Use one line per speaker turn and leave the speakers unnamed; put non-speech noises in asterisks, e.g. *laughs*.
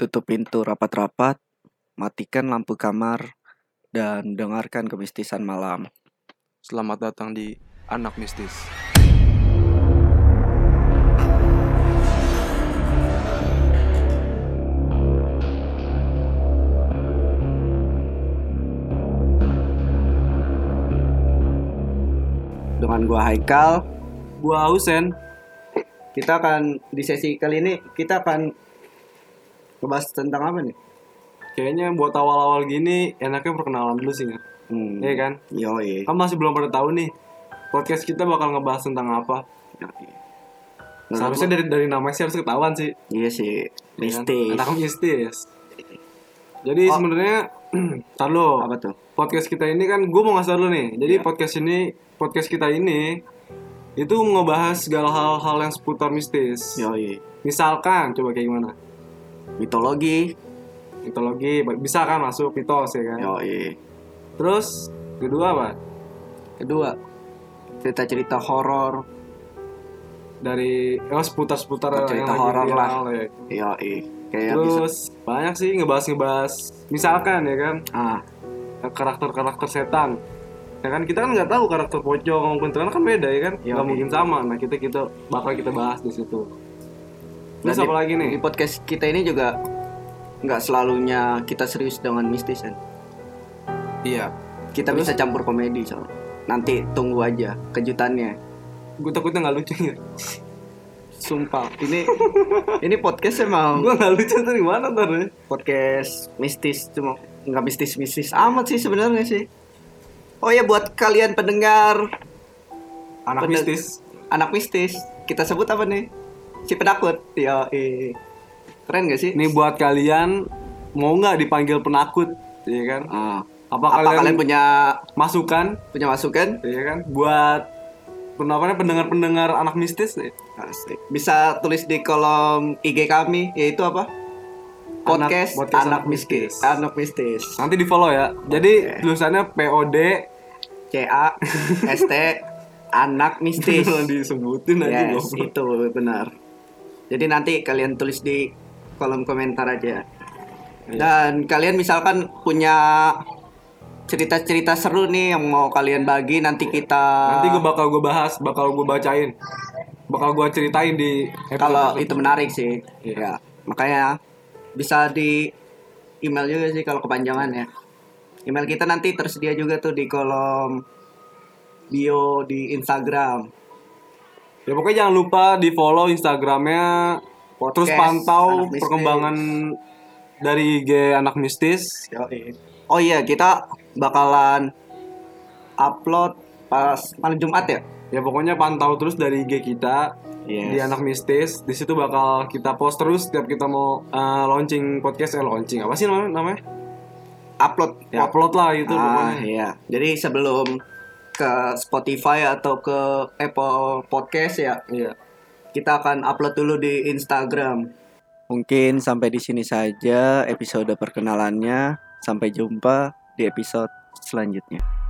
Tutup pintu rapat-rapat, matikan lampu kamar, dan dengarkan kemistisan malam.
Selamat datang di Anak Mistis.
Dengan gua Haikal,
Gua Husen.
kita akan di sesi kali ini kita akan ngebahas tentang apa nih?
Kayaknya buat awal-awal gini enaknya perkenalan dulu sih ya.
Hmm.
Iya kan?
Yoi.
Kamu masih belum pada tahu nih podcast kita bakal ngebahas tentang apa.
Menurut
Seharusnya dari dari namanya sih harus ketahuan sih.
gua- iya sih.
ya kan?
Mistis.
Anak mistis. Jadi sebenarnya *clears throat* tar lo.
Oh. Apa Iya. tuh?
podcast kita ini kan gue mau ngasih tau dulu nih jadi podcast ini podcast kita ini itu ngebahas segala hal-hal yang seputar mistis
Yoi.
misalkan coba kayak gimana
Mitologi.
mitologi ba- bisa kan masuk mitos
Iya.
ya kan
Yoi.
terus kedua apa
Kedua, cerita-cerita horor.
dari ya seputar seputar
Cerita horor lah.
ya.
Yoi. Kayak bisa.
terus banyak sih ngebahas ngebahas misalkan ya kan
Ah,
karakter karakter setan ya kan kita kan nggak tahu karakter pocong sama kuntilanak kan beda ya kan
Iya, iya.
nggak mungkin sama nah kita kita bakal kita bahas di situ terus
Dan
apa lagi nih
di podcast kita ini juga nggak selalunya kita serius dengan mistis kan.
iya
Kita
Terus?
bisa campur komedi soalnya. Nanti tunggu aja kejutannya.
gue takutnya nggak lucu nih
Sumpah, ini *laughs* ini podcast emang
gue nggak lucu tuh gimana ntar ya?
podcast mistis cuma nggak mistis-mistis amat sih sebenarnya sih. Oh ya buat kalian pendengar
anak
Bener.
mistis
anak mistis, kita sebut apa nih? Si penakut. Ya, keren gak sih?
ini buat kalian mau nggak dipanggil penakut ya kan
Ah.
apa,
Apa,
kalian,
kalian punya
masukan
punya masukan?
ya kan buat pendapatnya pendengar-pendengar anak mistis ya?
Asik. Bisa tulis di kolom IG kami yaitu apa? Podcast,
Podcast
anak,
Anak
mistis.
Mistis.
Anak mistis.
nanti di follow ya
Oke.
jadi tulisannya POD
C A S T anak mistis.
*laughs* disebutin aja
yes,
goblok.
itu benar. Jadi nanti kalian tulis di kolom komentar aja.
Iya.
Dan kalian misalkan punya cerita-cerita seru nih yang mau kalian bagi nanti kita
Nanti gue bakal gue bahas, bakal gue bacain, bakal gue ceritain di episode
kalau
tersebut.
itu menarik sih
Iya.
ya makanya bisa di email juga sih kalau kepanjangan ya email kita nanti tersedia juga tuh di kolom bio di Instagram
Ya pokoknya jangan lupa di follow Instagramnya,
Podcast
terus pantau
Anak Mistis.
perkembangan dari IG anak mistis.
oh iya kita bakalan upload pas malam Jumat ya
Ya pokoknya pantau terus dari IG kita di anak mistis. Di situ bakal kita post terus setiap kita mau eh, launching podcast, eh launching apa sih namanya? namanya?
upload
Ya upload lah itu.
ah iya jadi sebelum ke Spotify atau ke Apple Podcast ya
Iya.
kita akan upload dulu di Instagram. Mungkin sampai di sini saja episode perkenalannya. Sampai jumpa di episode selanjutnya.